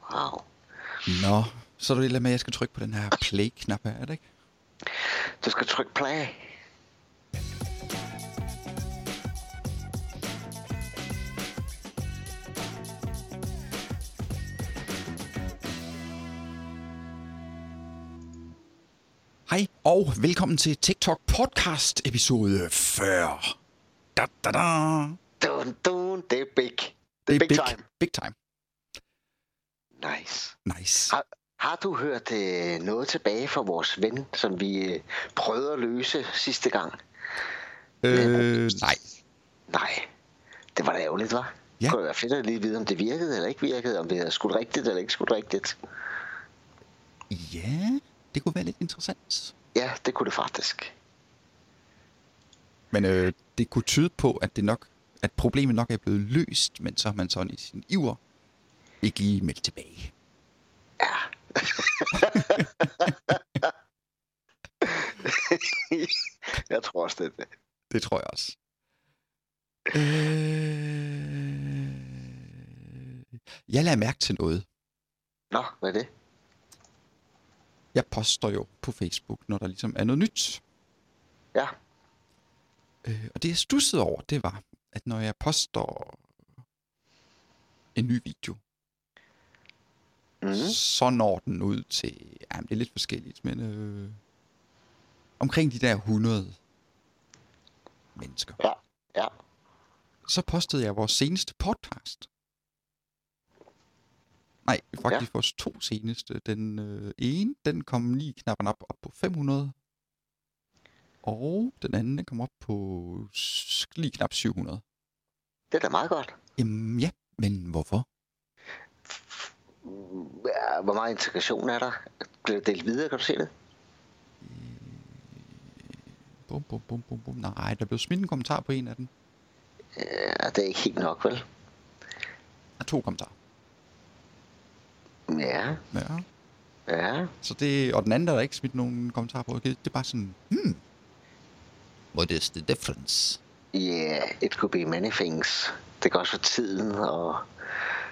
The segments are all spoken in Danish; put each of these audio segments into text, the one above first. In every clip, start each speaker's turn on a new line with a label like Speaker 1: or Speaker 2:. Speaker 1: foredrag.
Speaker 2: Nå, så er det lidt med, at jeg skal trykke på den her play-knap her, er det ikke?
Speaker 1: Du skal trykke play.
Speaker 2: Hej, og velkommen til TikTok podcast episode 40. Da, da, da.
Speaker 1: Dun, dun, det er big.
Speaker 2: Det
Speaker 1: big time.
Speaker 2: Big time.
Speaker 1: Nice.
Speaker 2: Nice.
Speaker 1: Har, har du hørt øh, noget tilbage fra vores ven, som vi øh, prøvede at løse sidste gang?
Speaker 2: Øh, nej.
Speaker 1: Nej. Det var da ærgerligt, var.
Speaker 2: Ja.
Speaker 1: Ja. Kunne jeg fedt at lige vide, om det virkede eller ikke virkede, om vi havde skudt rigtigt eller ikke skudt rigtigt.
Speaker 2: Ja, det kunne være lidt interessant.
Speaker 1: Ja, det kunne det faktisk.
Speaker 2: Men øh, det kunne tyde på, at det nok, at problemet nok er blevet løst, men så har man sådan i sin iver ikke lige meldt tilbage.
Speaker 1: Ja. jeg tror også, det er det.
Speaker 2: Det tror jeg også. Øh, jeg lader mærke til noget.
Speaker 1: Nå, hvad er det?
Speaker 2: Jeg poster jo på Facebook, når der ligesom er noget nyt.
Speaker 1: Ja.
Speaker 2: Øh, og det jeg stussede over, det var, at når jeg poster en ny video,
Speaker 1: Mm. Mm-hmm.
Speaker 2: mm. så når den ud til, jamen det er lidt forskelligt, men øh, omkring de der 100 mennesker.
Speaker 1: Ja, ja.
Speaker 2: Så postede jeg vores seneste podcast. Nej, faktisk ja. vores to seneste. Den øh, ene, den kom lige knappen op, op på 500. Og den anden, den kom op på s- lige knap 700.
Speaker 1: Det er da meget godt.
Speaker 2: Jamen ja, men hvorfor?
Speaker 1: Ja, Hvor meget integration er der? Bliver det delt videre, kan du se det?
Speaker 2: Bum, bum, bum, bum, bum. Nej, der blev smidt en kommentar på en af dem.
Speaker 1: Ja, det er ikke helt nok, vel?
Speaker 2: Der er to kommentarer.
Speaker 1: Ja,
Speaker 2: Ja.
Speaker 1: ja.
Speaker 2: Så det, og den anden der er der ikke smidt nogen kommentar på. Det, det er bare sådan, hmm. What is the difference?
Speaker 1: Yeah, it could be many things. Det kan også være tiden, og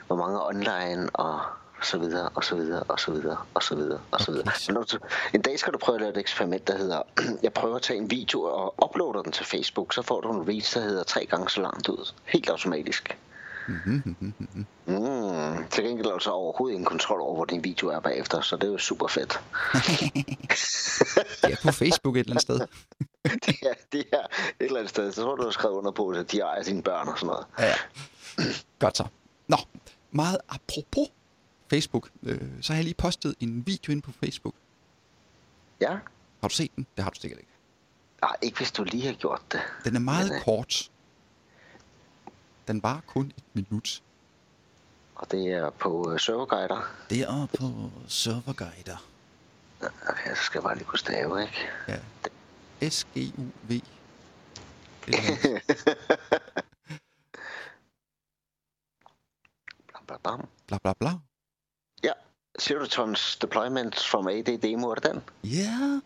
Speaker 1: hvor mange online, og så videre, og så videre, og så videre, og så videre, og så videre.
Speaker 2: Okay, så-
Speaker 1: Men når du, en dag skal du prøve at lave et eksperiment, der hedder, jeg prøver at tage en video og uploader den til Facebook, så får du en reach, der hedder tre gange så langt ud. Helt automatisk. Mm, til gengæld er så overhovedet ingen kontrol over, hvor din video er bagefter, så det er jo super fedt.
Speaker 2: Det er på Facebook et eller andet sted.
Speaker 1: det, er, det er et eller andet sted, så tror du, du har skrevet under på, at de ejer sine børn og sådan noget.
Speaker 2: Ja, ja. Godt så. Nå, meget apropos Facebook, øh, så har jeg lige postet en video ind på Facebook.
Speaker 1: Ja?
Speaker 2: Har du set den? Det har du sikkert ikke.
Speaker 1: Nej, ikke hvis du lige har gjort det.
Speaker 2: Den er meget
Speaker 1: Men, øh,
Speaker 2: kort. Den var kun et minut.
Speaker 1: Og det er på øh, serverguider.
Speaker 2: Det er på serverguider.
Speaker 1: Okay, så skal jeg bare lige kunne stave, ikke?
Speaker 2: Ja. S-G-U-V. Et eller andet.
Speaker 1: Blam, blam, blam.
Speaker 2: Bla bla bla.
Speaker 1: Zero Tons Deployment from AD Demo, er det den?
Speaker 2: Ja. Yeah.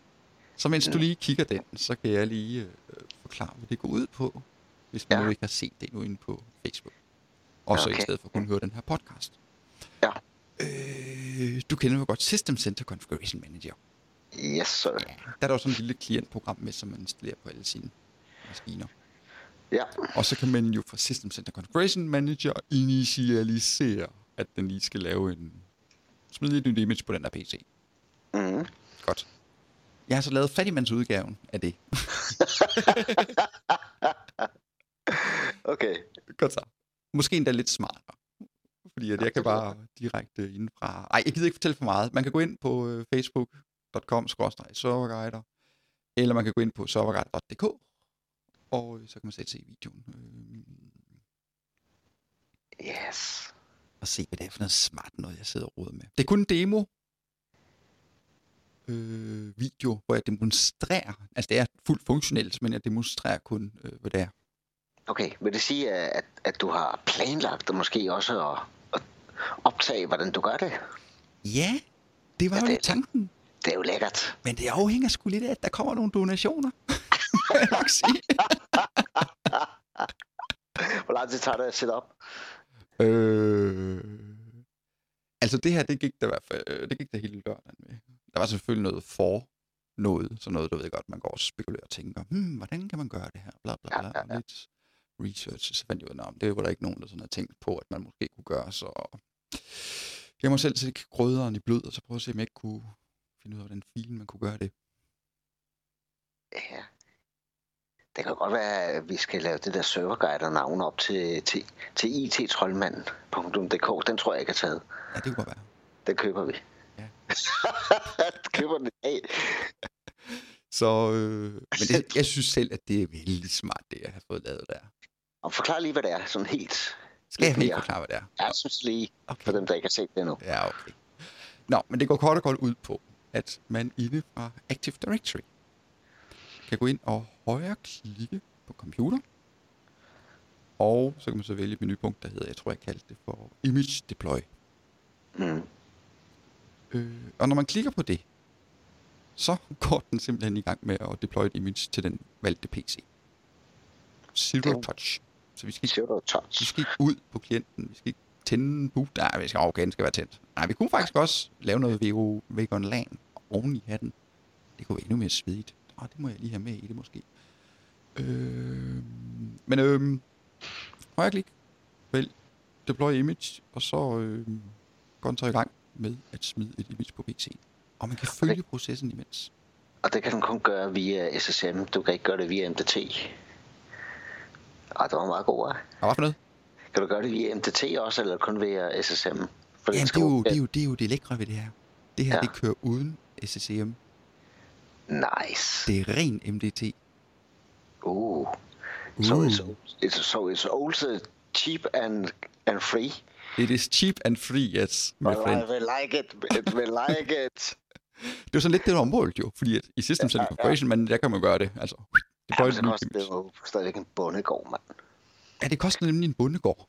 Speaker 2: Så mens du lige kigger den, så kan jeg lige øh, forklare, hvad det går ud på, hvis man
Speaker 1: Ja.
Speaker 2: nu ikke har set det nu inde på Facebook. Og så i
Speaker 1: Okay.
Speaker 2: stedet for kun høre den her podcast.
Speaker 1: Ja.
Speaker 2: Øh, du kender jo godt System Center Configuration Manager.
Speaker 1: Yes, sir.
Speaker 2: Der er der jo sådan et lille klientprogram med, som man installerer på alle sine maskiner.
Speaker 1: Ja,
Speaker 2: Og så kan man jo fra System Center Configuration Manager initialisere, at den lige skal lave en... Smid et nyt image på den der PC. Mm-hmm.
Speaker 1: mm.
Speaker 2: Godt. Jeg har så lavet fattigmandsudgaven af det.
Speaker 1: okay.
Speaker 2: Godt så. Måske endda lidt smartere. Fordi at jeg kan
Speaker 1: det lyder
Speaker 2: bare direkte indfra... Ej, jeg gider ikke fortælle for meget. Man kan gå ind på øh, facebookcom serverguider eller man kan gå ind på serverguider.dk, og øh, så kan man sætte sig i videoen øh,
Speaker 1: Yes.
Speaker 2: og se, hvad det er for noget smart noget, jeg sidder og roder med. Det er kun en demo øh, video, hvor jeg demonstrerer. Altså, det er fuldt funktionelt, men jeg demonstrerer kun, øh, hvad det er.
Speaker 1: Okay, vil det sige, at, at- at du har planlagt og måske også at, at optage, hvordan du gør det?
Speaker 2: Ja, det var
Speaker 1: Ja, det er
Speaker 2: jo lidt
Speaker 1: lækkert.
Speaker 2: tanken.
Speaker 1: Det er jo lækkert.
Speaker 2: Men det afhænger sgu lidt af, at der kommer nogle donationer. Må jeg nok sige.
Speaker 1: Hvor lang tid tager det at sætte op?
Speaker 2: Øh... altså det her, det gik der i hvert fald, øh, det gik der hele lørdagen med. Der var selvfølgelig noget for noget, sådan noget, du ved godt, man går og spekulerer og tænker, hmm, hvordan kan man gøre det her, bla bla
Speaker 1: Ja,
Speaker 2: bla,
Speaker 1: ja,
Speaker 2: ja, ja. lidt research, så fandt jeg ud af, "Nå, men det var der ikke nogen, der sådan havde tænkt på, at man måske kunne gøre, så jeg må selv sætte grøderen i blød, og så prøve at se, om jeg ikke kunne finde ud af, hvordan filen man kunne gøre det.
Speaker 1: Ja. Det kan godt være, at vi skal lave det der serverguide og navn op til, til, til ittrollmanden.dk. Den tror jeg ikke er taget.
Speaker 2: Ja, det kunne godt være.
Speaker 1: Den køber vi.
Speaker 2: Ja.
Speaker 1: køber den af.
Speaker 2: Så, øh, men det, jeg synes selv, at det er vældig smart, det jeg har fået lavet der.
Speaker 1: Og forklar lige, hvad det er, sådan helt.
Speaker 2: Skal jeg
Speaker 1: Lidt
Speaker 2: ikke
Speaker 1: mere.
Speaker 2: forklare, hvad det er?
Speaker 1: Jeg synes lige, for
Speaker 2: Okay.
Speaker 1: dem, der ikke har set det endnu.
Speaker 2: Ja, okay. Nå, men det går kort og godt ud på, at man inde fra Active Directory kan gå ind og højreklikke på computer, og så kan man så vælge et menupunkt, der hedder, jeg tror, jeg kaldte det for Image Deploy.
Speaker 1: Mm.
Speaker 2: Øh, og når man klikker på det, så går den simpelthen i gang med at deploye et image til den valgte PC. Zero
Speaker 1: Det-
Speaker 2: touch. Så vi skal ikke
Speaker 1: Zero
Speaker 2: Vi
Speaker 1: touch.
Speaker 2: skal ikke ud på klienten. Vi skal ikke tænde en boot. Nej, vi skal okay, den skal være tændt. Nej, vi kunne faktisk også lave noget VO, Vegon LAN oven i hatten. Det kunne være endnu mere svedigt. Åh, det må jeg lige have med i det måske. Øh, men øh, højre klik. Vælg deploy image, og så øh, går den så i gang med at smide et image på PC. Og man kan følge processen imens.
Speaker 1: Og det kan den kun gøre via SSM. Du kan ikke gøre det via MDT. Og det var meget god, hva'?
Speaker 2: Og hvad for noget?
Speaker 1: Kan du gøre det via MDT også, eller kun via SSM? For
Speaker 2: Jamen, det, er jo, det, er jo, det er jo det lækre ved det her. Det her,
Speaker 1: Ja.
Speaker 2: ja. det kører uden SSM.
Speaker 1: Nice.
Speaker 2: Det er ren MDT.
Speaker 1: Uh.
Speaker 2: Uh.
Speaker 1: So it's, it's so it's also cheap and and free.
Speaker 2: It is cheap and free, yes, my
Speaker 1: Well, I
Speaker 2: friend.
Speaker 1: will like it. It will like it.
Speaker 2: Det er jo sådan lidt det, der er området jo, fordi at i Systems and Corporation, men der kan man gøre det, altså. Det
Speaker 1: Ja,
Speaker 2: ja,
Speaker 1: men det koster
Speaker 2: det
Speaker 1: jo stadigvæk en bondegård, mand.
Speaker 2: ja, det koster nemlig en bondegård.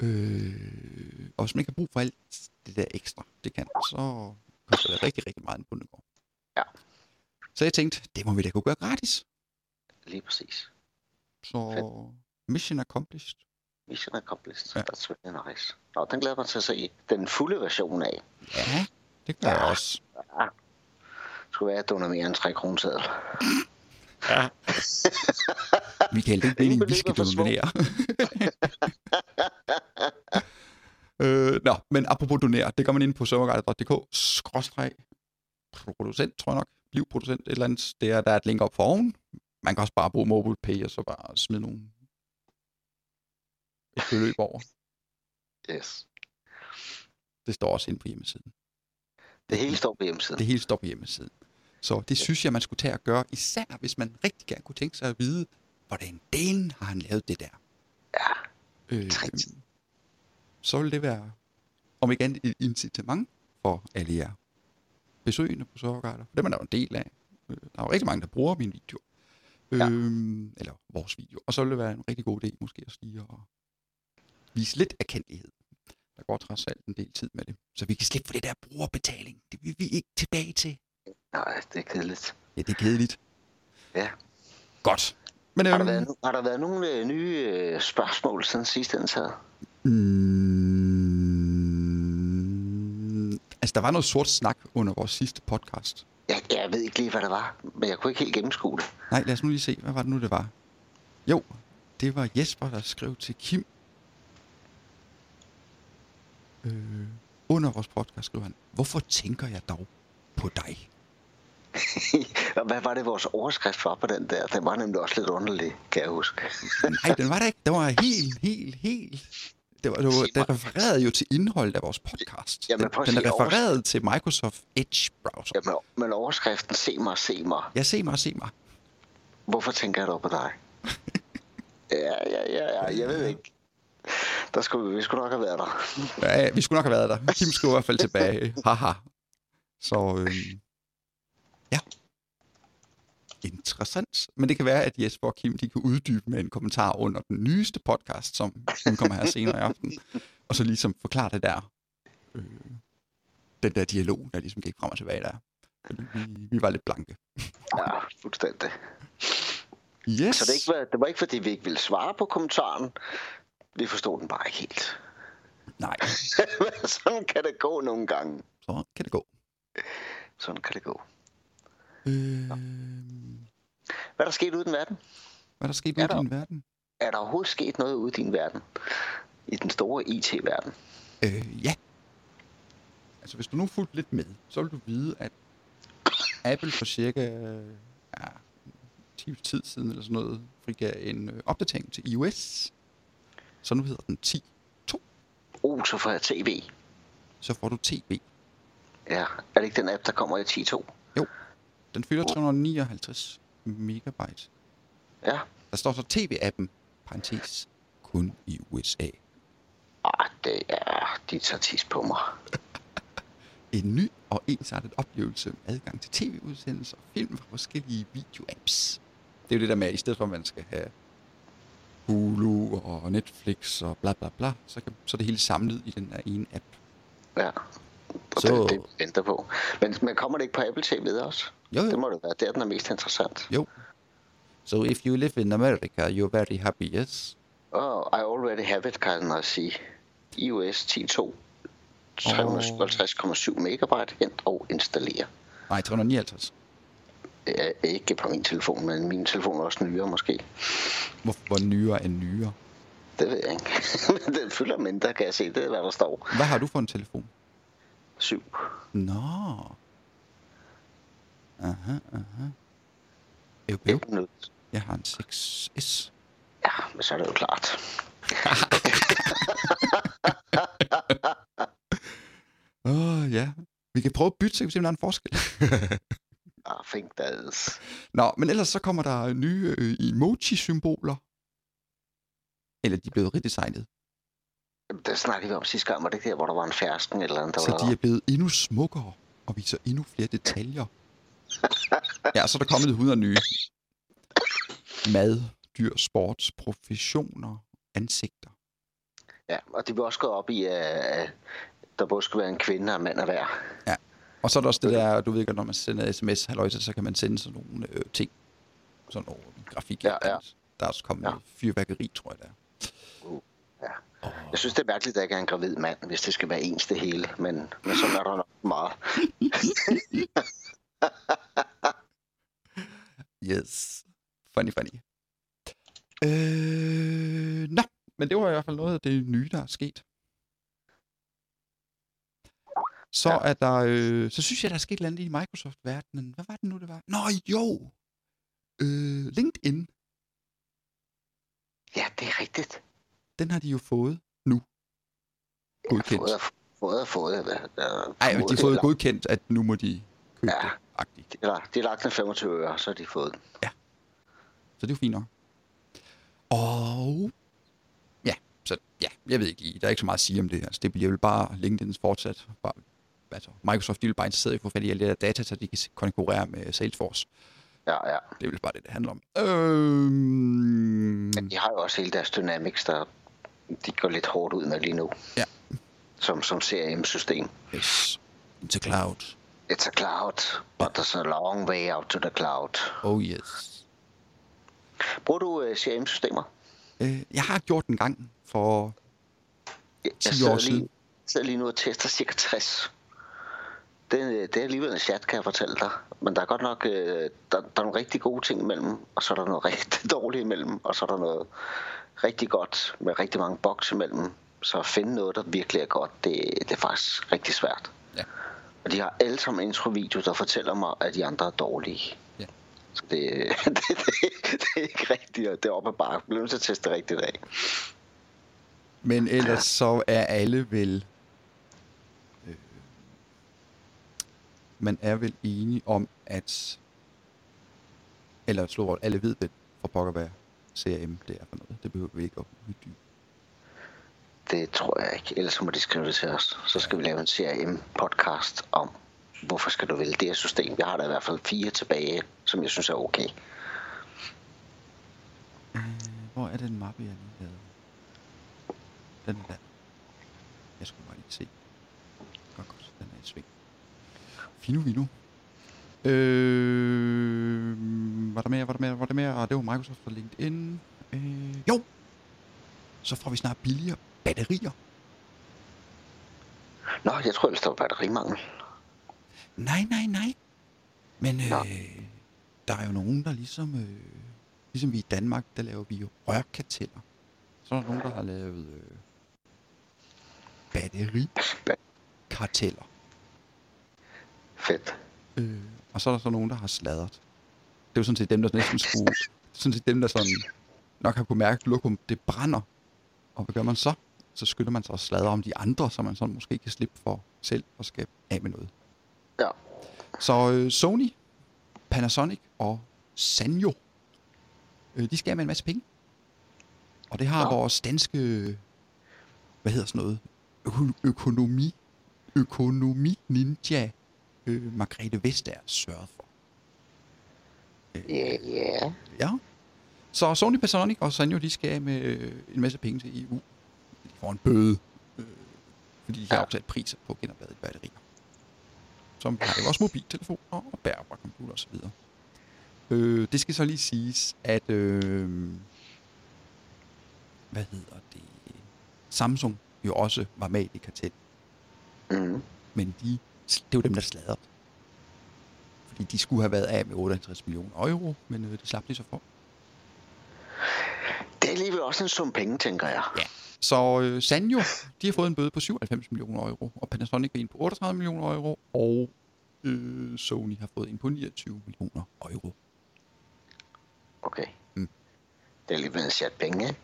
Speaker 2: Øh, og hvis man ikke har brug for alt det der ekstra, det kan, så koster det rigtig, rigtig meget en bondegård.
Speaker 1: Ja.
Speaker 2: Så jeg tænkte, det må vi da kunne gøre gratis.
Speaker 1: Lige præcis.
Speaker 2: Så mission accomplished.
Speaker 1: Mission accomplished.
Speaker 2: Ja.
Speaker 1: Ja. That's really nice. Nå, den glæder jeg mig til at se den fulde version af.
Speaker 2: Ja, det gør jeg også.
Speaker 1: Det skulle være, at donerer mere end 3 kroner seddel.
Speaker 2: Michael, det er ikke
Speaker 1: Ingen
Speaker 2: meningen, vi
Speaker 1: beløb
Speaker 2: skal
Speaker 1: er for små.
Speaker 2: donere. øh, nå, men apropos donere, det gør man ind på serverguide.dk, skråstreg, producent, tror jeg nok, bliv producent, et eller andet, det er, der er et link op for oven. Man kan også bare bruge MobilePay, og så bare smide nogle et beløb over.
Speaker 1: Yes.
Speaker 2: Det står også inde på hjemmesiden.
Speaker 1: Det hele står på hjemmesiden.
Speaker 2: Det hele står på hjemmesiden. Så det synes jeg, man skulle tage at gøre, især hvis man rigtig gerne kunne tænke sig at vide, hvordan delen har han lavet det der.
Speaker 1: Ja.
Speaker 2: Øh,
Speaker 1: Rigtigt.
Speaker 2: så vil det være, om ikke andet, et incitament for alle jer besøgende på Sørgeguider. Dem er der jo en del af. Øh, Der er jo rigtig mange, der bruger min video.
Speaker 1: Ja.
Speaker 2: Øhm, eller vores video. Og så vil det være en rigtig god idé måske også lige at vise lidt erkendelighed. Der går trods alt en del tid med det. Så vi kan slippe for det der brugerbetaling. Det vil vi ikke tilbage til.
Speaker 1: Nej, det er kedeligt.
Speaker 2: Ja, det er kedeligt.
Speaker 1: Ja.
Speaker 2: Godt. Men øhm,
Speaker 1: Har der været, no- har der været nogle øh, nye øh, spørgsmål siden sidste indsat?
Speaker 2: Mm, altså, der var noget sort snak under vores sidste podcast.
Speaker 1: Jeg, jeg ved ikke lige, hvad det var, men jeg kunne ikke helt gennemskue det.
Speaker 2: Nej, lad os nu lige se. Hvad var det nu, det var? Jo, det var Jesper, der skrev til Kim. Øh, under vores podcast skrev han, hvorfor tænker jeg dog på dig?
Speaker 1: Og hvad var det, vores overskrift var på den der? Den var nemlig også lidt underlig, kan jeg huske.
Speaker 2: Nej, den var der ikke. Den var helt, helt, helt... Det var, det var, den refererede jo til indholdet af vores podcast.
Speaker 1: Jamen,
Speaker 2: Den,
Speaker 1: prøv at
Speaker 2: den
Speaker 1: sige over-
Speaker 2: refererede til Microsoft Edge browser.
Speaker 1: Jamen, men overskriften, se mig, se mig.
Speaker 2: Jeg se mig, se mig.
Speaker 1: Hvorfor tænker jeg dog på dig? ja, ja, ja, ja, jeg ved ikke. Der skulle, vi- vi skulle nok have været der.
Speaker 2: Ja, ja, vi skulle nok have været der. Kim skrev i hvert fald tilbage. Haha. Så øhm, ja. Interessant. Men det kan være, at Jesper og Kim de kan uddybe med en kommentar under den nyeste podcast, som kommer her senere i aften. Og så ligesom forklare det der. Øh, den der dialog, der ligesom gik frem og tilbage der. Fordi vi, vi var lidt blanke.
Speaker 1: Ja, fuldstændig.
Speaker 2: Yes.
Speaker 1: Så det, ikke var, det var ikke, fordi vi ikke ville svare på kommentaren. Vi forstod den bare ikke helt.
Speaker 2: Nej,
Speaker 1: Sådan kan det gå nogle gange.
Speaker 2: så kan det gå.
Speaker 1: Sådan kan det gå.
Speaker 2: Øh,
Speaker 1: Hvad er der sket ude i den verden?
Speaker 2: hvad er der sket
Speaker 1: Er
Speaker 2: med
Speaker 1: der-
Speaker 2: din verden?
Speaker 1: Er der overhovedet sket noget ude i din verden? I den store IT-verden?
Speaker 2: Øh, ja. Altså, hvis du nu fulgte lidt med, så vil du vide, at Apple for cirka øh, ja, 10 tid siden eller sådan noget, frigav en øh, opdatering til iOS. Så nu hedder den 10.2.
Speaker 1: Oh, så får jeg TV.
Speaker 2: Så får du TV.
Speaker 1: Ja, er det ikke den app, der kommer i 10.2?
Speaker 2: Den fylder 359 megabyte.
Speaker 1: Ja.
Speaker 2: Der står så TV-appen, parentes, kun i USA.
Speaker 1: Ah, det er... De tager tis på mig.
Speaker 2: En ny og ensartet oplevelse med adgang til tv-udsendelser og film fra forskellige video-apps. Det er jo det der med, at i stedet for at man skal have Hulu og Netflix og bla bla bla, så, kan, så er det hele samlet i den der ene app.
Speaker 1: Ja. Og
Speaker 2: Så-
Speaker 1: så... det, det venter på. Men, men kommer det ikke på Apple TV også?
Speaker 2: Jo,
Speaker 1: Det
Speaker 2: jo.
Speaker 1: må det være. Det er den er mest interessant.
Speaker 2: jo. So if you live in America, you're very happy, yes?
Speaker 1: Oh, I already have it, kan jeg sige. iOS 10.2. 350,7 megabyte hent og installere.
Speaker 2: Nej, 359.
Speaker 1: Det er ikke på min telefon, men min telefon er også nyere måske.
Speaker 2: Hvor, hvor nyere end nyere.
Speaker 1: Det ved jeg ikke. Men den fylder mindre, kan jeg se. Det er, hvad der står.
Speaker 2: Hvad har du for en telefon?
Speaker 1: 7.
Speaker 2: Nå. Aha, aha. Jo, jo.
Speaker 1: Et minut.
Speaker 2: Jeg har en 6S.
Speaker 1: Ja, men så er det jo klart.
Speaker 2: Åh, oh, ja. Vi kan prøve at bytte, så kan vi se, om der er en forskel.
Speaker 1: I Ah, think that is.
Speaker 2: Nå, men ellers så kommer der nye øh, emoji-symboler. Eller de er blevet redesignet.
Speaker 1: Det snakkede vi om sidste gang, var det ikke der, hvor der var en fersken eller andet? Der
Speaker 2: Så
Speaker 1: var
Speaker 2: de er blevet endnu smukkere og viser endnu flere detaljer. Ja, så er der kommet 100 nye. Mad, dyr, sports, professioner, ansigter.
Speaker 1: Ja, og de blev også gået op i, at der både skulle være en kvinde og en mand af hver.
Speaker 2: Og så er der også det der, du ved godt, når man sender sms, halløjsa, så kan man sende sådan nogle øh, ting. Sådan nogle grafik.
Speaker 1: Ja, ja.
Speaker 2: Der er også kommet
Speaker 1: Ja.
Speaker 2: ja. fyrværkeri, tror jeg, der.
Speaker 1: Uh, ja.
Speaker 2: Oh.
Speaker 1: Jeg synes, det er mærkeligt, at der ikke er en gravid mand, hvis det skal være ens det hele. Men, men så er der nok meget.
Speaker 2: Yes. Funny, funny. Øh, nå, men det var i hvert fald noget af det nye, der er sket. Så
Speaker 1: Ja.
Speaker 2: er der, øh, så synes jeg, der er sket et eller andet i Microsoft-verdenen. Hvad var det nu, det var? Nå, jo! Øh, LinkedIn,
Speaker 1: Ja, det er rigtigt.
Speaker 2: den har de jo fået nu. Godkendt.
Speaker 1: Fået og fået. og fået øh, øh,
Speaker 2: Nej, de har fået
Speaker 1: eller,
Speaker 2: godkendt, at nu må de købe
Speaker 1: Ja.
Speaker 2: ja. det. Agtigt.
Speaker 1: eller, de har lagt den 25 øre, så har de fået den.
Speaker 2: Så det er jo fint nok. Og... Ja, så ja, jeg ved ikke, der er ikke så meget at sige om det her. Altså, det bliver vel bare LinkedIn's fortsat. Bare, altså, Microsoft, de vil bare interesseret i at få fat i alle de der data, så de kan konkurrere med Salesforce.
Speaker 1: Ja, ja.
Speaker 2: Det er vel bare det, det handler om. Øhm,
Speaker 1: Men de har jo også hele deres dynamics, der de går lidt hårdt ud med lige nu.
Speaker 2: Ja.
Speaker 1: Som, som CRM-system.
Speaker 2: yes. Into cloud.
Speaker 1: It's a cloud, but there's a long way out to the cloud.
Speaker 2: Oh yes.
Speaker 1: Bruger du øh, CRM-systemer?
Speaker 2: Øh, jeg har gjort en gang for...
Speaker 1: Jeg,
Speaker 2: 10
Speaker 1: jeg sidder,
Speaker 2: år siden.
Speaker 1: lige, sidder lige nu og tester cirka 60. Det, er- det er alligevel en chat, kan jeg fortælle dig. Men der er godt nok øh, der, der er nogle rigtig gode ting imellem, og så er der noget rigtig dårligt imellem, og så er der noget rigtig godt med rigtig mange boks imellem. Så at finde noget, der virkelig er godt, det, det er faktisk rigtig svært.
Speaker 2: Ja.
Speaker 1: Og de har alle sammen introvideo, der fortæller mig, at de andre er dårlige.
Speaker 2: Ja.
Speaker 1: Så det, det, det, det, er ikke rigtigt, og det er op ad bakke. Jeg bliver nødt til at teste det rigtigt af.
Speaker 2: Men ellers så er alle vel... Øh, man er vel enige om, at... Eller slå over, alle ved vel for pokker, hvad CRM det er for noget. Det behøver vi ikke at uddybe.
Speaker 1: Det tror jeg ikke. Ellers må de skrive det til os. Så skal vi lave en CRM-podcast om, hvorfor skal du vælge det her system. Jeg har da i hvert fald fire tilbage, som jeg synes er okay.
Speaker 2: Øh, Hvor er den mappe, jeg lige havde? Den er der. Jeg skulle bare lige se. Godt, godt. Den er i sving. Fino, vino. Øh, var der mere, var der mere, var der mere? Og det var Microsoft og LinkedIn. Øh, jo! Så får vi snart billigere batterier.
Speaker 1: Nå, jeg tror ellers, der var batterimangel.
Speaker 2: Nej, nej, nej. Men øh,
Speaker 1: Nå.
Speaker 2: der er jo nogen, der ligesom, øh, ligesom vi i Danmark, der laver vi jo rørkarteller. Så er der nogen, der har lavet øh, batterikarteller.
Speaker 1: Fedt.
Speaker 2: Øh, og så er der så nogen, der har sladret. Det er jo sådan set dem, der næsten skulle... sådan set dem, der sådan nok har kunne mærke, at lokum, det brænder. Og hvad gør man så? Så skynder man sig at sladre om de andre, så man sådan måske kan slippe for selv og skabe af med noget.
Speaker 1: Ja.
Speaker 2: Så øh, Sony, Panasonic og Sanyo, øh, de skal af med en masse penge. Og det har
Speaker 1: Nå.
Speaker 2: ja. vores danske, øh, hvad hedder sådan noget, øko- økonomi, økonomi ninja, øh, Margrethe Vestager sørget for. Øh,
Speaker 1: Ja, ja.
Speaker 2: Ja. Så Sony, Panasonic og Sanyo, de skal af med øh, en masse penge til EU. De får en bøde, øh, fordi de har
Speaker 1: Ja.
Speaker 2: aftalt priser på genopladede batterier. Som har jo også mobiltelefoner og bærbare computer osv. Øh, det skal så lige siges, at... Øh, hvad hedder det? Samsung jo også var med i det kartel,
Speaker 1: Mm.
Speaker 2: men de, det var dem, der sladrede. Fordi de skulle have været af med 58 millioner euro, men øh, det slap de så for.
Speaker 1: Det er alligevel også en sum penge, tænker jeg.
Speaker 2: Ja. Så øh, Sanyo, de har fået en bøde på 97 millioner euro, og Panasonic en på 38 millioner euro, og øh, Sony har fået en på 29 millioner euro.
Speaker 1: Okay.
Speaker 2: Mm.
Speaker 1: Det er alligevel en sjat penge, ikke?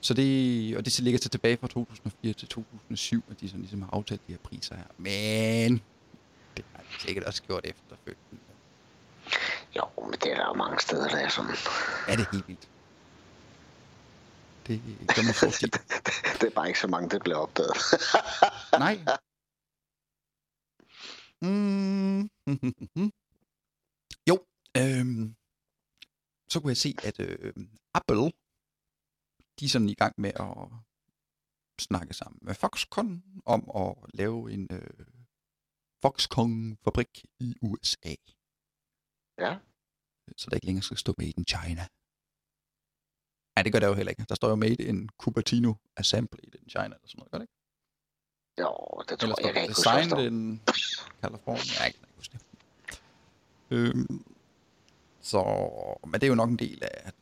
Speaker 2: Så det, og det ligger så tilbage fra 2004 til 2007, at de sådan ligesom har aftalt de her priser her. Men det har de sikkert også gjort efterfølgende.
Speaker 1: Jo, men det er der jo mange steder, der er sådan.
Speaker 2: Er det helt vildt? Det gør man for tit.
Speaker 1: det er bare ikke så mange, der bliver opdaget.
Speaker 2: Nej. Mm. jo. Øhm, så kunne jeg se, at øh, Apple, de er sådan i gang med at snakke sammen med Foxconn om at lave en øh, Foxconn-fabrik i USA,
Speaker 1: ja.
Speaker 2: så der ikke længere skal stå Made in China. Nej, det gør der jo heller ikke. Der står jo Made in Cupertino Assembly in China, eller sådan noget, gør det ikke?
Speaker 1: Jo, det tror
Speaker 2: Eller
Speaker 1: jeg, jeg
Speaker 2: står
Speaker 1: kan
Speaker 2: der
Speaker 1: ikke huske, hvad der
Speaker 2: Designed in California? Jeg kan ikke huske det. Øhm, så, men det er jo nok en del af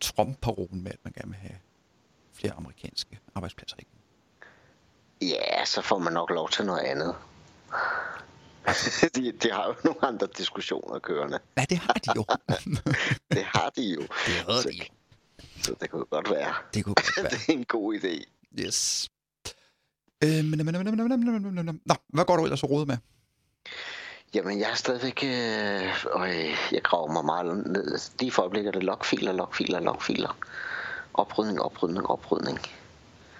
Speaker 2: Trump-parolen med, at man gerne vil have flere amerikanske arbejdspladser. Ikke?
Speaker 1: står. Ja, så får man nok lov til noget andet.
Speaker 2: Altså.
Speaker 1: de, de har jo nogle andre diskussioner kørende.
Speaker 2: Nej, det har de jo.
Speaker 1: Det har de jo.
Speaker 2: det har
Speaker 1: så,
Speaker 2: de jo.
Speaker 1: så det kunne godt være.
Speaker 2: Det kunne godt være.
Speaker 1: det er en god idé.
Speaker 2: Yes. Øhm, men- men- men- men- men- men- men- men- men- men- Nå, hvad går du ellers og rode med?
Speaker 1: Jamen, jeg er stadigvæk... Øh, og jeg graver mig meget ned. Lige for øjeblikket er det logfiler, logfiler, logfiler. Oprydning, oprydning, oprydning.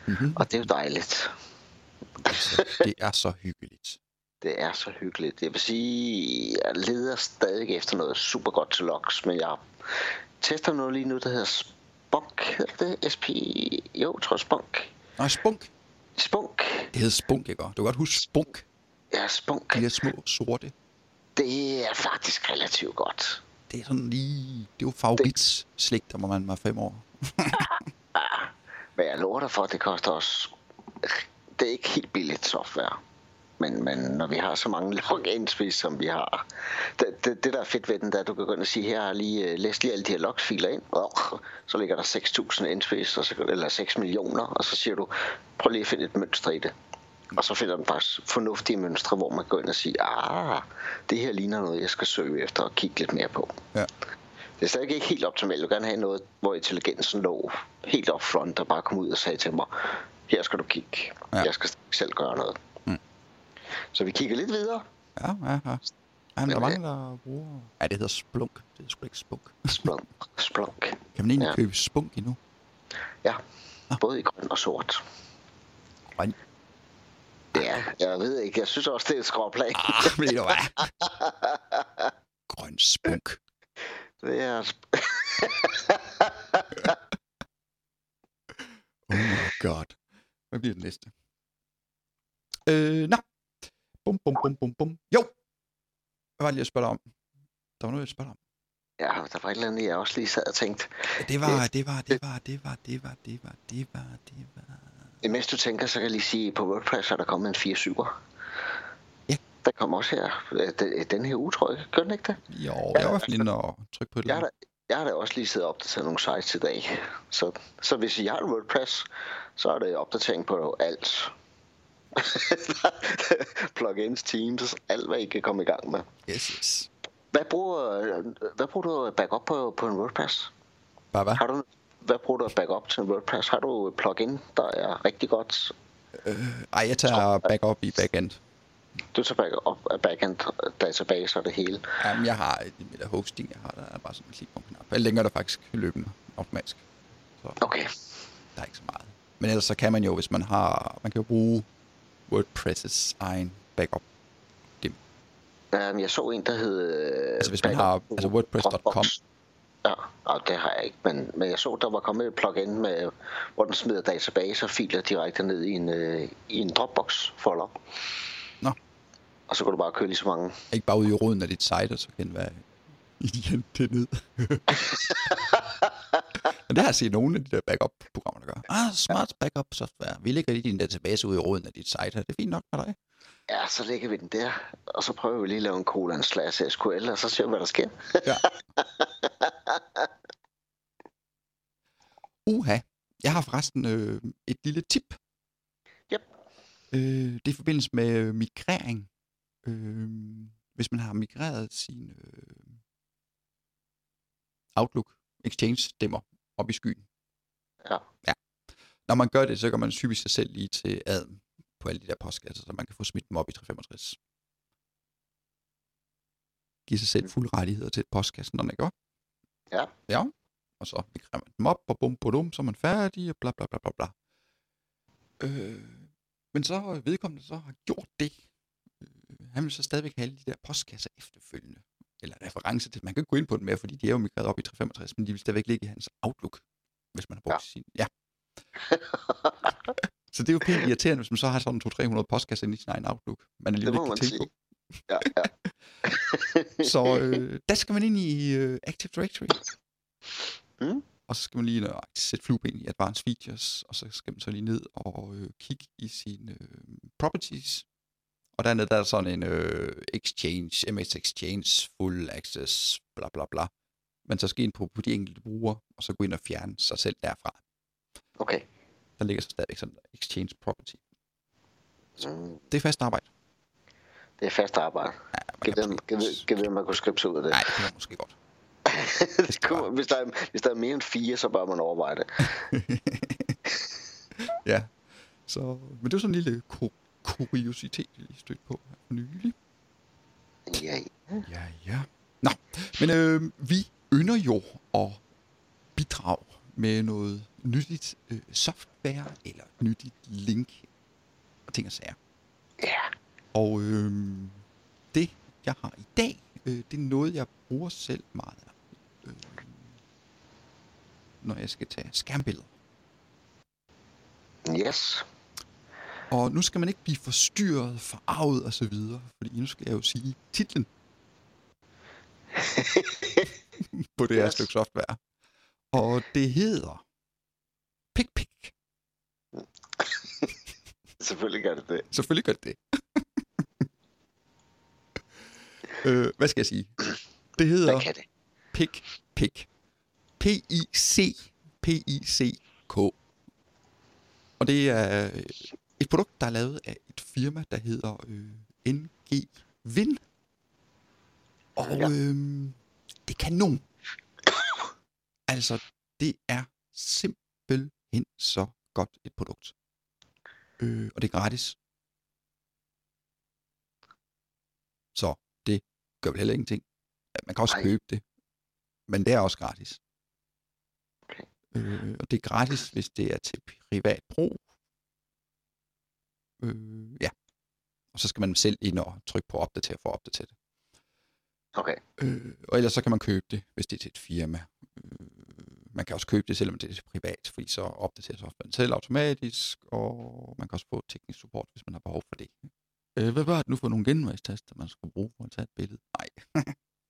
Speaker 2: Mm-hmm.
Speaker 1: Og det er jo dejligt.
Speaker 2: Altså, Det er så hyggeligt.
Speaker 1: Det er så hyggeligt. Jeg vil sige, jeg leder stadig efter noget super godt til logs, men jeg tester noget lige nu, der hedder Spunk. Hedder det SP? Jo, jeg tror Spunk.
Speaker 2: Nå, spunk.
Speaker 1: Spunk.
Speaker 2: Det hedder spunk, ikke? Du kan godt huske spunk.
Speaker 1: Ja, Spunk.
Speaker 2: De der små sorte.
Speaker 1: Det er faktisk relativt godt.
Speaker 2: Det er sådan lige... Det er jo favorit slik, der må man var fem år.
Speaker 1: Men jeg lover dig for, at det koster os... Det er ikke helt billigt software. Men, men når vi har så mange logins, vi- som vi har... Det, det, det der er fedt ved den, der du kan gå ind og sige, her har lige, øh, læs lige alle de her logsfiler ind, og så ligger der 6.000 indspis, og så, eller 6 millioner, og så siger du, prøv lige at finde et mønster i det. Og så finder den faktisk fornuftige mønstre, hvor man går ind og siger, ah, det her ligner noget, jeg skal søge efter og kigge lidt mere på.
Speaker 2: Ja.
Speaker 1: Det er stadig ikke helt optimalt. Jeg vil gerne have noget, hvor intelligensen lå helt op front og bare kom ud og sagde til mig, her skal du kigge.
Speaker 2: Ja.
Speaker 1: Ja. Jeg skal selv gøre noget.
Speaker 2: Mm.
Speaker 1: Så vi kigger lidt videre.
Speaker 2: Ja, ja, ja. Ej, men der
Speaker 1: Men,
Speaker 2: er mange, der bruger... Ja, det hedder splunk. Det hedder sgu ikke spunk.
Speaker 1: Splunk, splunk.
Speaker 2: Kan man egentlig ja.
Speaker 1: Ja.
Speaker 2: købe spunk endnu?
Speaker 1: Ja, både i grøn og sort.
Speaker 2: Ah. Grøn.
Speaker 1: Ja, jeg ved ikke. Jeg synes også, det er et skråplan.
Speaker 2: Ah, men det er hvad? Grøn spunk.
Speaker 1: Det er...
Speaker 2: Oh my god. Hvad bliver det næste? Øh, nå. Bum, bum, bum, bum, bum. Jo! Hvad var det lige, jeg spørger dig om? Der var noget, jeg spørger dig om.
Speaker 1: Ja, der var et eller andet, jeg også lige sad og tænkte.
Speaker 2: Ja, Det var, det var, det var, det var, det var, det var, det var, det var.
Speaker 1: Mens du tænker, så kan jeg lige sige, at på WordPress er der kommet en 4.7'er.
Speaker 2: Ja.
Speaker 1: Der kommer også her øh, den- den her uge, tror jeg. Gør den ikke det?
Speaker 2: Jo, jeg var i hvert fald inde og trykke på det.
Speaker 1: Jeg har, da, jeg har da også lige siddet og opdateret nogle sites i dag. Så, så hvis I har en WordPress, så er det opdatering på alt. Plugins, Teams, alt hvad I kan komme i gang med.
Speaker 2: Yes, yes.
Speaker 1: Hvad bruger, hvad bruger du at backup på, på en WordPress?
Speaker 2: Bare hvad?
Speaker 1: Har du, hvad bruger du at backup til en WordPress? Har du et plugin, der er rigtig godt?
Speaker 2: Ej, jeg tager backup i backend.
Speaker 1: Du tager backup af backend database og det hele.
Speaker 2: Jamen, jeg har et lille hosting, jeg har, der er bare sådan en klik på en knap. Jeg lægger der faktisk løbende automatisk.
Speaker 1: Okay,
Speaker 2: Der er ikke så meget. Men ellers så kan man jo, hvis man har... Man kan jo bruge WordPress' egen backup.
Speaker 1: um, jeg så en, der hed... øh,
Speaker 2: Altså, hvis man har-
Speaker 1: backup på
Speaker 2: altså, WordPress.com.
Speaker 1: Dropbox. Ja, og det har jeg ikke, men, men jeg så, der var kommet et plugin, med, hvor den smider databaser og filer direkte ned i en, øh, i en Dropbox-folder.
Speaker 2: Nå.
Speaker 1: Og så kan du bare køre lige så mange.
Speaker 2: Ikke bare ude i roden af dit site, og så kan den være igen det ned. Men det har jeg set nogle af de der backup-programmer, der gør. Ah, smart backup software. Vi lægger lige din database ude i roden af dit site. Er det fint nok for dig?
Speaker 1: Ja, så lægger vi den der, og så prøver vi lige at lave en colon slash SQL, og så ser vi, hvad der sker.
Speaker 2: Ja. Uha. Jeg har forresten øh, et lille tip.
Speaker 1: Yep.
Speaker 2: Øh, det er i forbindelse med øh, migrering. Øh, hvis man har migreret sin øh, Outlook Exchange-stemmer op i skyen.
Speaker 1: Ja.
Speaker 2: ja. Når man gør det, så gør man typisk sig selv lige til adm på alle de der postkasser, så man kan få smidt dem op i 365. Give sig
Speaker 1: Mm.
Speaker 2: selv fulde rettigheder til postkassen, når man gør.
Speaker 1: Ja.
Speaker 2: Ja. Og så migrerer man dem op, og bum, bum, så er man færdig, og bla, bla, bla, bla, bla. Øh, men så har vedkommende så har gjort det. Øh, han vil så stadigvæk have alle de der postkasser efterfølgende. Eller reference til, man kan ikke gå ind på den mere, fordi de er jo migreret op i 365, men de vil stadigvæk ligge i hans Outlook, hvis man har brugt ja. sin. Ja. så det er jo pænt irriterende, hvis man så har sådan 200-300 postkasser inde i sin egen Outlook. Man er lige
Speaker 1: Det må
Speaker 2: ikke
Speaker 1: man
Speaker 2: tænke på.
Speaker 1: sige. Ja, ja.
Speaker 2: Så øh, der skal man ind i øh, Active Directory.
Speaker 1: Mm.
Speaker 2: Og så skal man lige ind og sætte flueben i Advanced Features, og så skal man så lige ned og øh, kigge i sine øh, Properties. Og dernede der er sådan en øh, Exchange, MS Exchange, Full Access, bla bla bla. Man så skal ind på, på de enkelte brugere, og så gå ind og fjerne sig selv derfra.
Speaker 1: Okay.
Speaker 2: Der ligger så stadigvæk sådan en Exchange Property.
Speaker 1: Mm,
Speaker 2: Det er fast arbejde.
Speaker 1: det er fast arbejde.
Speaker 2: Ja, man
Speaker 1: Giv
Speaker 2: kan
Speaker 1: dem,
Speaker 2: måske-
Speaker 1: giv, giv dem, man kunne skrive sig ud af det.
Speaker 2: Nej, det kan man måske godt.
Speaker 1: det kunne, hvis, der er, hvis der er mere end fire, så bør man overveje det.
Speaker 2: ja. Så, men det var sådan en lille ku- kuriositet, jeg lige stødte på her for nylig.
Speaker 1: Ja,
Speaker 2: Ja, ja. Nå, men øh, vi ynder jo at bidrage med noget nyttigt øh, software eller nyttigt link og ting og sager.
Speaker 1: ja.
Speaker 2: Og øh, det, jeg har i dag, øh, det er noget, jeg bruger selv meget af. Øh, når jeg skal tage skærmbilleder.
Speaker 1: Yes.
Speaker 2: Og nu skal man ikke blive forstyrret, forarvet og så videre, fordi nu skal jeg jo sige titlen på det her
Speaker 1: Yes.
Speaker 2: stykke software. Og det hedder PicPic.
Speaker 1: Selvfølgelig gør det det.
Speaker 2: Selvfølgelig gør det det. øh, hvad skal jeg sige? Det hedder
Speaker 1: Hvad kan det?
Speaker 2: PicPic. P-I-C. P-I-C-K. Og det er øh, et produkt, der er lavet af et firma, der hedder øh, NG Vind. Og
Speaker 1: Ja.
Speaker 2: øh, det er kanon. altså, det er simpelthen så godt et produkt. Øh, og det er gratis. Så det gør vel heller ingenting. Man kan også
Speaker 1: Nej.
Speaker 2: købe det. Men det er også gratis.
Speaker 1: Okay.
Speaker 2: Øh, og det er gratis, hvis det er til privat brug. Øh, ja. Og så skal man selv ind og trykke på opdater for at opdatere det.
Speaker 1: Okay.
Speaker 2: Øh, og ellers så kan man købe det, hvis det er til et firma. Øh, man kan også købe det, selvom det er til privat, fordi så opdaterer softwaren selv automatisk, og man kan også få teknisk support, hvis man har behov for det. Øh, hvad var det nu for nogle genvejstaster, man skulle bruge for at tage et billede? Nej.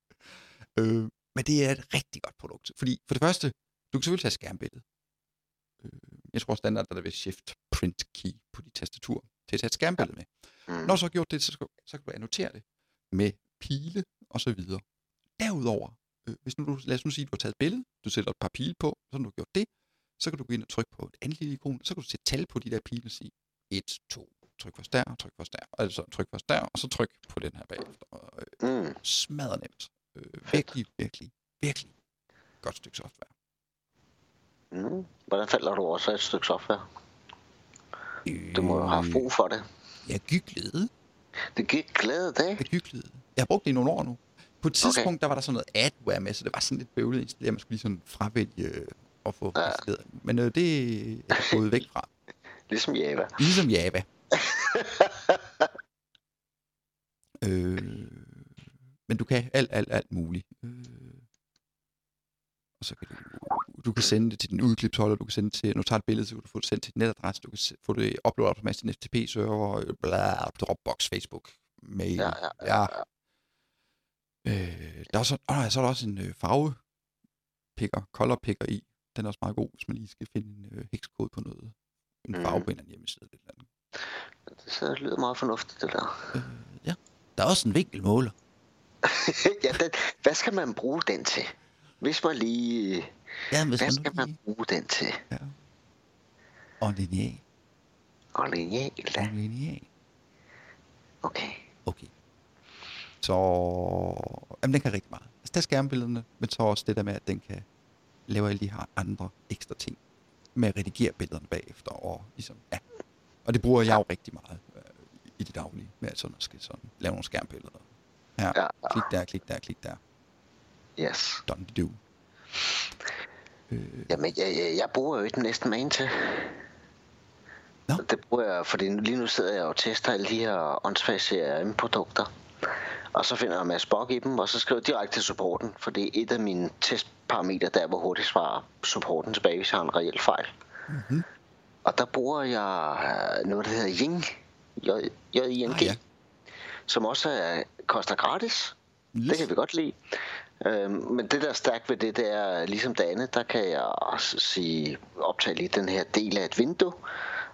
Speaker 2: øh, men det er et rigtig godt produkt, fordi for det første, du kan selvfølgelig tage skærmbilledet. Øh, jeg tror standard er der ved Shift Pre, print key på dit tastatur til at tage et skærmbillede med.
Speaker 1: Mm.
Speaker 2: Når du så har gjort det, så skal, du- så kan du annotere det med pile og så videre. Derudover, øh, hvis nu du, lad os nu sige, at du har taget et billede, du sætter et par pile på, så når du har gjort det, så kan du gå ind og trykke på et andet lille ikon, så kan du sætte tal på de der pile og sige 1, 2, tryk først der, tryk først der, altså tryk først der, og så tryk på den her bagefter. Og, øh,
Speaker 1: Mm.
Speaker 2: smadret nemt. Øh, virkelig, virkelig, virkelig godt stykke software.
Speaker 1: Mm. Hvordan falder du over så et stykke software? Du må jo have
Speaker 2: Øh,
Speaker 1: brug for det.
Speaker 2: Jeg gyglede.
Speaker 1: Det gik glæde dag.
Speaker 2: Jeg gyglede. Jeg har brugt det i nogle år nu. På et tidspunkt, okay. der var der sådan noget adware med, så det var sådan lidt bøvlet installeret. Man skulle lige sådan fravælge øh, at få
Speaker 1: Ja.
Speaker 2: ja. Men øh, det er jeg gået væk fra.
Speaker 1: Ligesom Java.
Speaker 2: Ligesom Java. øh, men du kan alt, alt, alt muligt. Øh, og så kan du, du kan sende det til din udklipsholder, du kan sende det til, når du tager et billede, så kan du få det sendt til din netadresse, du kan se- få det uploadet op på masse FTP-server, øh, bla, Dropbox, Facebook, mail.
Speaker 1: Ja, ja,
Speaker 2: ja. Øh, der er så, åh, nej, så er der også en øh, farve picker, color picker i. Den er også meget god, hvis man lige skal finde en øh, hekskode på noget. En farve
Speaker 1: Mhm.
Speaker 2: på en eller anden hjemmeside. Eller et eller andet.
Speaker 1: Det sidder- lyder meget fornuftigt, det der.
Speaker 2: Ja. Der er også en vinkelmåler.
Speaker 1: ja, den, hvad skal man bruge den til? Hvis man lige...
Speaker 2: Ja, hvis
Speaker 1: Hvad
Speaker 2: man nu
Speaker 1: skal man
Speaker 2: lige-
Speaker 1: bruge den til?
Speaker 2: Ja. Og en lineal.
Speaker 1: Og lineal,
Speaker 2: Og
Speaker 1: da.
Speaker 2: en lineal.
Speaker 1: Okay.
Speaker 2: Okay. Så jamen, den kan rigtig meget. Altså, der er skærmbillederne, men så også det der med, at den kan lave alle de her andre ekstra ting med at redigere billederne bagefter. Og, ligesom, ja. og det bruger jeg jo rigtig meget øh, i det daglige, med at sådan, at skal sådan, lave nogle skærmbilleder. Her,
Speaker 1: Ja, ja.
Speaker 2: klik der, klik der, klik der.
Speaker 1: Yes.
Speaker 2: Done to do. Øh,
Speaker 1: Jamen, jeg, jeg, jeg bruger jo ikke næsten magen til.
Speaker 2: Nå.
Speaker 1: Det bruger jeg, fordi lige nu sidder jeg og tester alle de her åndsfagserie produkter. Og så finder jeg en masse bug i dem, og så skriver jeg direkte til supporten, for det er et af mine testparametre, der er, hvor hurtigt svarer supporten tilbage, hvis jeg har en reel fejl.
Speaker 2: mhm.
Speaker 1: Og der bruger jeg øh, noget, der hedder Ying, J- J-I-N-G,
Speaker 2: Ah, ja.
Speaker 1: som også er, koster gratis. Det kan vi godt lide. Øhm, men det, der er stærkt ved det, det er, ligesom det andet, der kan jeg også sige, optage lige den her del af et vindue.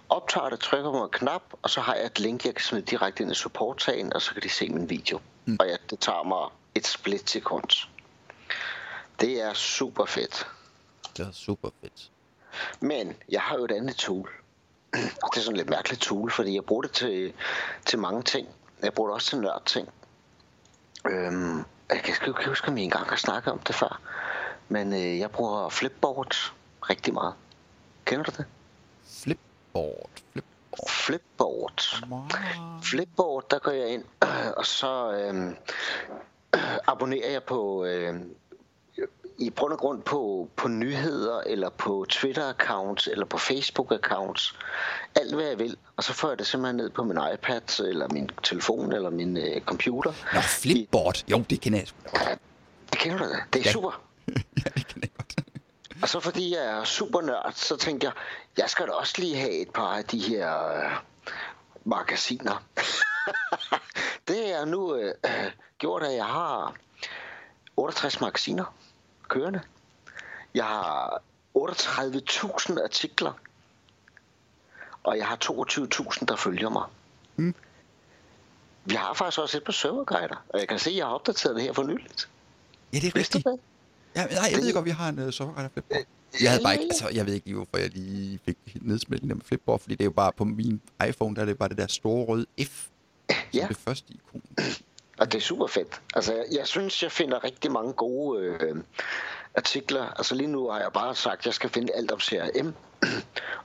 Speaker 1: Optager det, trykker på en knap, og så har jeg et link, jeg kan smide direkte ind i supporttagen, og så kan de se min video. Mm. Og ja, det tager mig et split sekund. Det er super fedt.
Speaker 2: Det er super fedt.
Speaker 1: Men jeg har jo et andet tool. Og det er sådan et lidt mærkeligt tool, fordi jeg bruger det til, til mange ting. Jeg bruger det også til nørdting. Øhm, jeg kan sgu ikke huske, om vi engang har snakket om det før. Men øh, jeg bruger Flipboard rigtig meget. Kender du det?
Speaker 2: Flipboard. Flipboard.
Speaker 1: Flipboard.
Speaker 2: Meget.
Speaker 1: Flipboard, der går jeg ind, og så øhm, abonnerer jeg på... øhm, i bund og grund på, på nyheder, eller på Twitter-accounts, eller på Facebook-accounts. Alt hvad jeg vil. Og så får jeg det simpelthen ned på min iPad, eller min telefon, eller min øh, computer.
Speaker 2: Nå, Flipboard. Jo, det kender jeg sgu da godt.
Speaker 1: Det kender du da. Det er
Speaker 2: Ja.
Speaker 1: super.
Speaker 2: ja, det kender jeg godt.
Speaker 1: Og så fordi jeg er super nørd, så tænkte jeg, jeg skal da også lige have et par af de her øh, magasiner. det er nu øh, øh, gjort, at jeg har 68 magasiner kørende. Jeg har 38.000 artikler. Og jeg har 22.000, der følger mig.
Speaker 2: Mm.
Speaker 1: Vi har faktisk også et på serverguider, og jeg kan se, at jeg har opdateret det her for nyligt.
Speaker 2: Ja, det er
Speaker 1: Vidste
Speaker 2: rigtigt.
Speaker 1: du det?
Speaker 2: Ja, men nej, jeg ved
Speaker 1: Det-
Speaker 2: godt, vi har en uh, soveret af Flipboard. Jeg havde bare ikke,
Speaker 1: Øh, ja, ja.
Speaker 2: altså, jeg ved ikke lige, hvorfor jeg lige fik nedsmeltningen med Flipboard, fordi det er jo bare på min iPhone, der er det bare det der store røde F, som
Speaker 1: Ja.
Speaker 2: det første ikon.
Speaker 1: Og det er super fedt. Altså, jeg, jeg synes, jeg finder rigtig mange gode øh, artikler. Altså lige nu har jeg bare sagt, at jeg skal finde alt om CRM,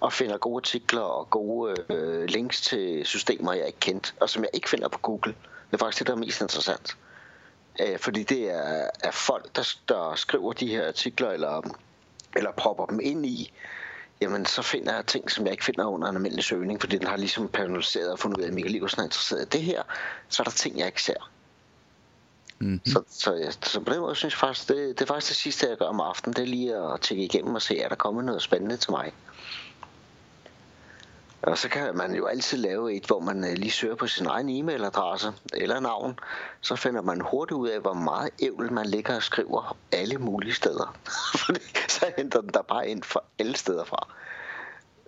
Speaker 1: og finder gode artikler og gode øh, links til systemer, jeg ikke kendte, og som jeg ikke finder på Google. Det er faktisk det, der er mest interessant. Øh, fordi det er, er folk, der, der skriver de her artikler, eller, eller propper dem ind i, jamen så finder jeg ting, som jeg ikke finder under en almindelig søgning, fordi den har ligesom personaliseret og fundet ud af, at Michael Iversen er interesseret i det her, så er der ting, jeg ikke ser.
Speaker 2: Mm.
Speaker 1: Så, så, ja, så på den måde synes jeg faktisk, det, det er faktisk det sidste, jeg gør om aftenen, det er lige at tjekke igennem og se, er der kommet noget spændende til mig. Og så kan man jo altid lave et, hvor man øh, lige søger på sin egen e-mailadresse eller navn. Så finder man hurtigt ud af, hvor meget ævl man ligger og skriver alle mulige steder. Fordi så henter den der bare ind fra alle steder fra.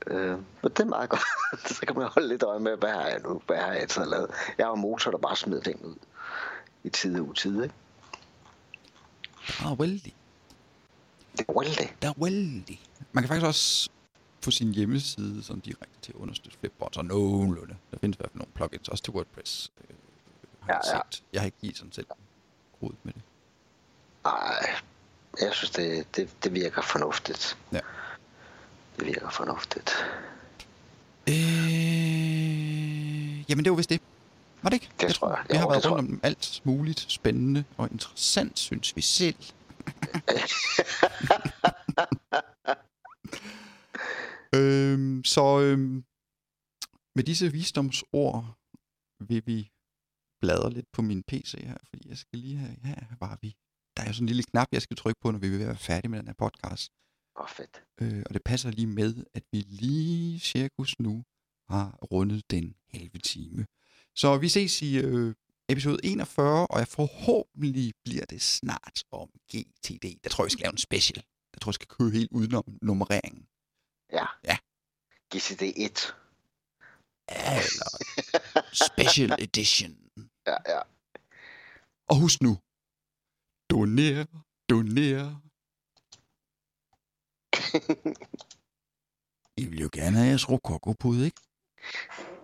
Speaker 1: Øh, men det er meget godt. så kan man holde lidt øje med, hvad har jeg nu? Hvad har jeg altid lavet? Jeg var motor, der bare smed ting ud i tide og utide, ikke?
Speaker 2: Der er vældig.
Speaker 1: Det er well, det.
Speaker 2: Der er vældig. Man kan faktisk også på sin hjemmeside, som direkte til at understøtte Flipboard, så nogenlunde. Der findes i hvert fald nogle plugins, også til WordPress. Øh, har jeg
Speaker 1: Ja, ja.
Speaker 2: set. Jeg har ikke lige sådan set rodet med det.
Speaker 1: Nej, jeg synes, det, det, det virker fornuftigt.
Speaker 2: Ja.
Speaker 1: Det virker fornuftigt.
Speaker 2: Øh, jamen, det var vist det. Var det ikke?
Speaker 1: Det tror jeg.
Speaker 2: Vi har
Speaker 1: Jo,
Speaker 2: været
Speaker 1: det
Speaker 2: rundt om alt muligt spændende og interessant, synes vi selv. øhm, så øhm, med disse visdomsord vil vi bladre lidt på min PC her, fordi jeg skal lige have, ja, var vi. Der er jo sådan en lille knap, jeg skal trykke på, når vi vil være færdige med den her podcast.
Speaker 1: Åh, oh, fedt.
Speaker 2: Øh, og det passer lige med, at vi lige cirkus nu har rundet den halve time. Så vi ses i øh, episode 41, og jeg forhåbentlig bliver det snart om GTD. Der tror jeg, vi skal lave en special. Jeg tror, jeg skal køre helt udenom nummereringen.
Speaker 1: GCD 1.
Speaker 2: Eller special edition.
Speaker 1: Ja, ja.
Speaker 2: Og husk nu, doner, doner. I vil jo gerne have jeres rokokopud, ikke?